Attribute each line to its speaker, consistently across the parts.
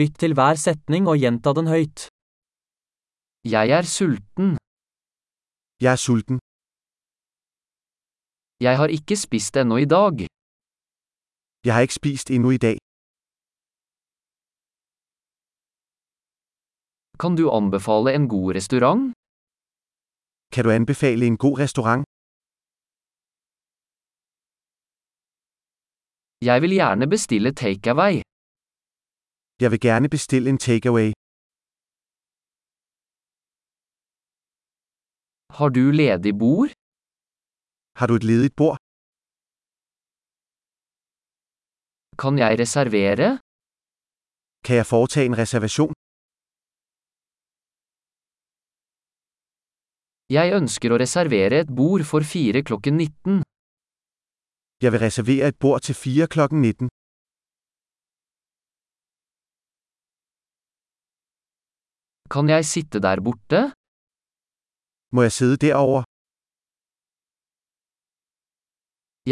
Speaker 1: Lytt til hver setning og gjenta den høyt. Jeg er sulten.
Speaker 2: Jeg er sulten.
Speaker 1: Jeg har ikke spist ennå i dag.
Speaker 2: Jeg har ikke spist endnu i dag.
Speaker 1: Kan du anbefale en god restaurant?
Speaker 2: Kan du anbefale en god restaurant?
Speaker 1: Jeg vil gjerne bestille takeaway.
Speaker 2: Jeg vil gerne bestille en takeaway.
Speaker 1: Har du ledig bord?
Speaker 2: Har du et ledigt bord?
Speaker 1: Kan jeg reservere?
Speaker 2: Kan jeg foretage en reservation?
Speaker 1: Jeg ønsker å reservere et bord for fire klokken 19.
Speaker 2: Jeg vil reservere et bord til 4 kl. 19.
Speaker 1: Kan jeg sitte der borte?
Speaker 2: Må jeg sidde derovre?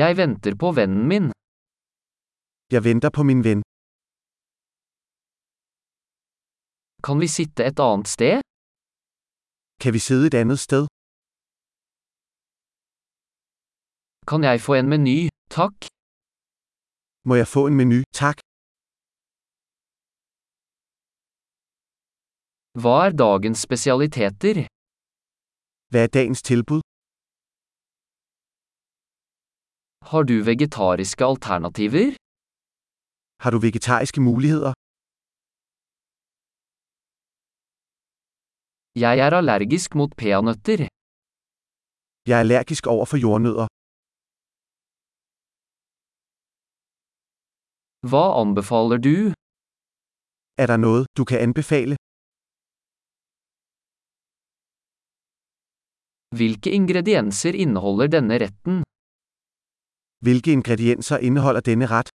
Speaker 1: Jeg venter på vennen min.
Speaker 2: Jeg venter på min ven.
Speaker 1: Kan vi sitte et annet sted?
Speaker 2: Kan vi sidde et andet sted?
Speaker 1: Kan jeg få en meny, takk?
Speaker 2: Må jeg få en menu? Tak.
Speaker 1: Hva er dagens spesialiteter?
Speaker 2: Hvad er dagens tilbud?
Speaker 1: Har du vegetariske alternativer?
Speaker 2: Har du vegetariske muligheder?
Speaker 1: Jeg er allergisk mot peanøtter.
Speaker 2: Jeg er allergisk over for jordnødder.
Speaker 1: Hva anbefaler du?
Speaker 2: Er der noget, du kan anbefale?
Speaker 1: Hvilke ingredienser inneholder denne retten?
Speaker 2: Hvilke ingredienser indeholder denne ret?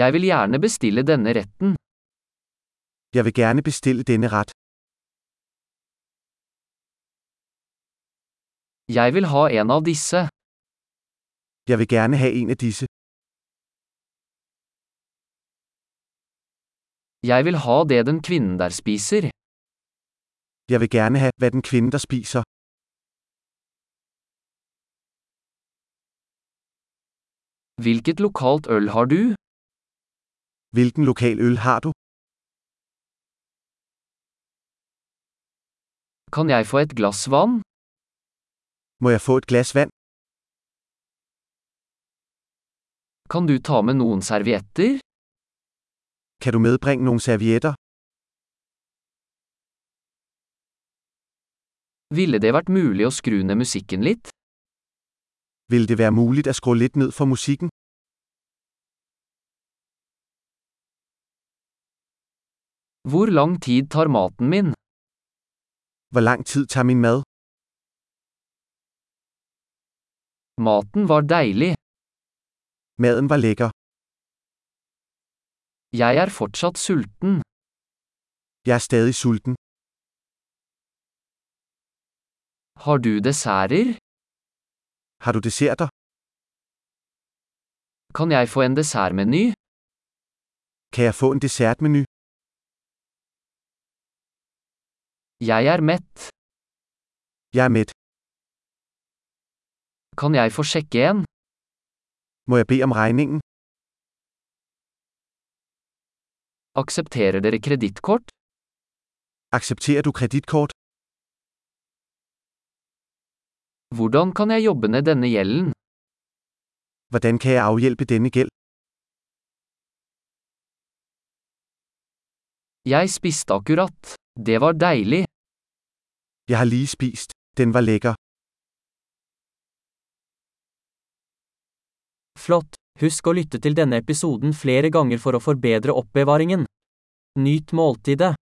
Speaker 1: Jeg vil gjerne bestille denne retten.
Speaker 2: Jeg vil gerne bestille denne ret.
Speaker 1: Jeg vil ha en av disse.
Speaker 2: Jeg vil gerne have en af disse.
Speaker 1: Jeg vil ha det den kvinnen der spiser.
Speaker 2: Jeg vil gerne have, hvad den kvinde, der spiser.
Speaker 1: Hvilket lokalt øl har du?
Speaker 2: Hvilken lokal øl har du?
Speaker 1: Kan jeg få et glass vann?
Speaker 2: Må jeg få et glas vand?
Speaker 1: Kan du ta med noen servietter?
Speaker 2: Kan du medbringe nogle servietter?
Speaker 1: Ville det vært mulig å skru ned musikken litt?
Speaker 2: Vil det være muligt at skrue lidt ned for musikken?
Speaker 1: Hvor lang tid tar maten min?
Speaker 2: Hvor lang tid tager min mad?
Speaker 1: Maten var deilig.
Speaker 2: Maden var lækker.
Speaker 1: Jeg er fortsatt sulten.
Speaker 2: Jeg er stadig sulten.
Speaker 1: Har du desserter?
Speaker 2: Har du desserter?
Speaker 1: Kan jeg få en dessertmeny?
Speaker 2: Kan jeg få en dessertmenu?
Speaker 1: Jeg er mett.
Speaker 2: Jeg er mæt.
Speaker 1: Kan jeg få sjekke en?
Speaker 2: Må jeg bede om regningen?
Speaker 1: Aksepterer dere kredittkort?
Speaker 2: Accepterer du kreditkort?
Speaker 1: Hvordan kan jeg jobbe ned denne gjelden?
Speaker 2: Hvordan kan jeg afhjælpe denne gæld?
Speaker 1: Jeg spiste akkurat. Det var deilig.
Speaker 2: Jeg har lige spist. Den var lækker.
Speaker 1: Flott! Husk å lytte til denne episoden flere ganger for å forbedre oppbevaringen. Nyt måltidet.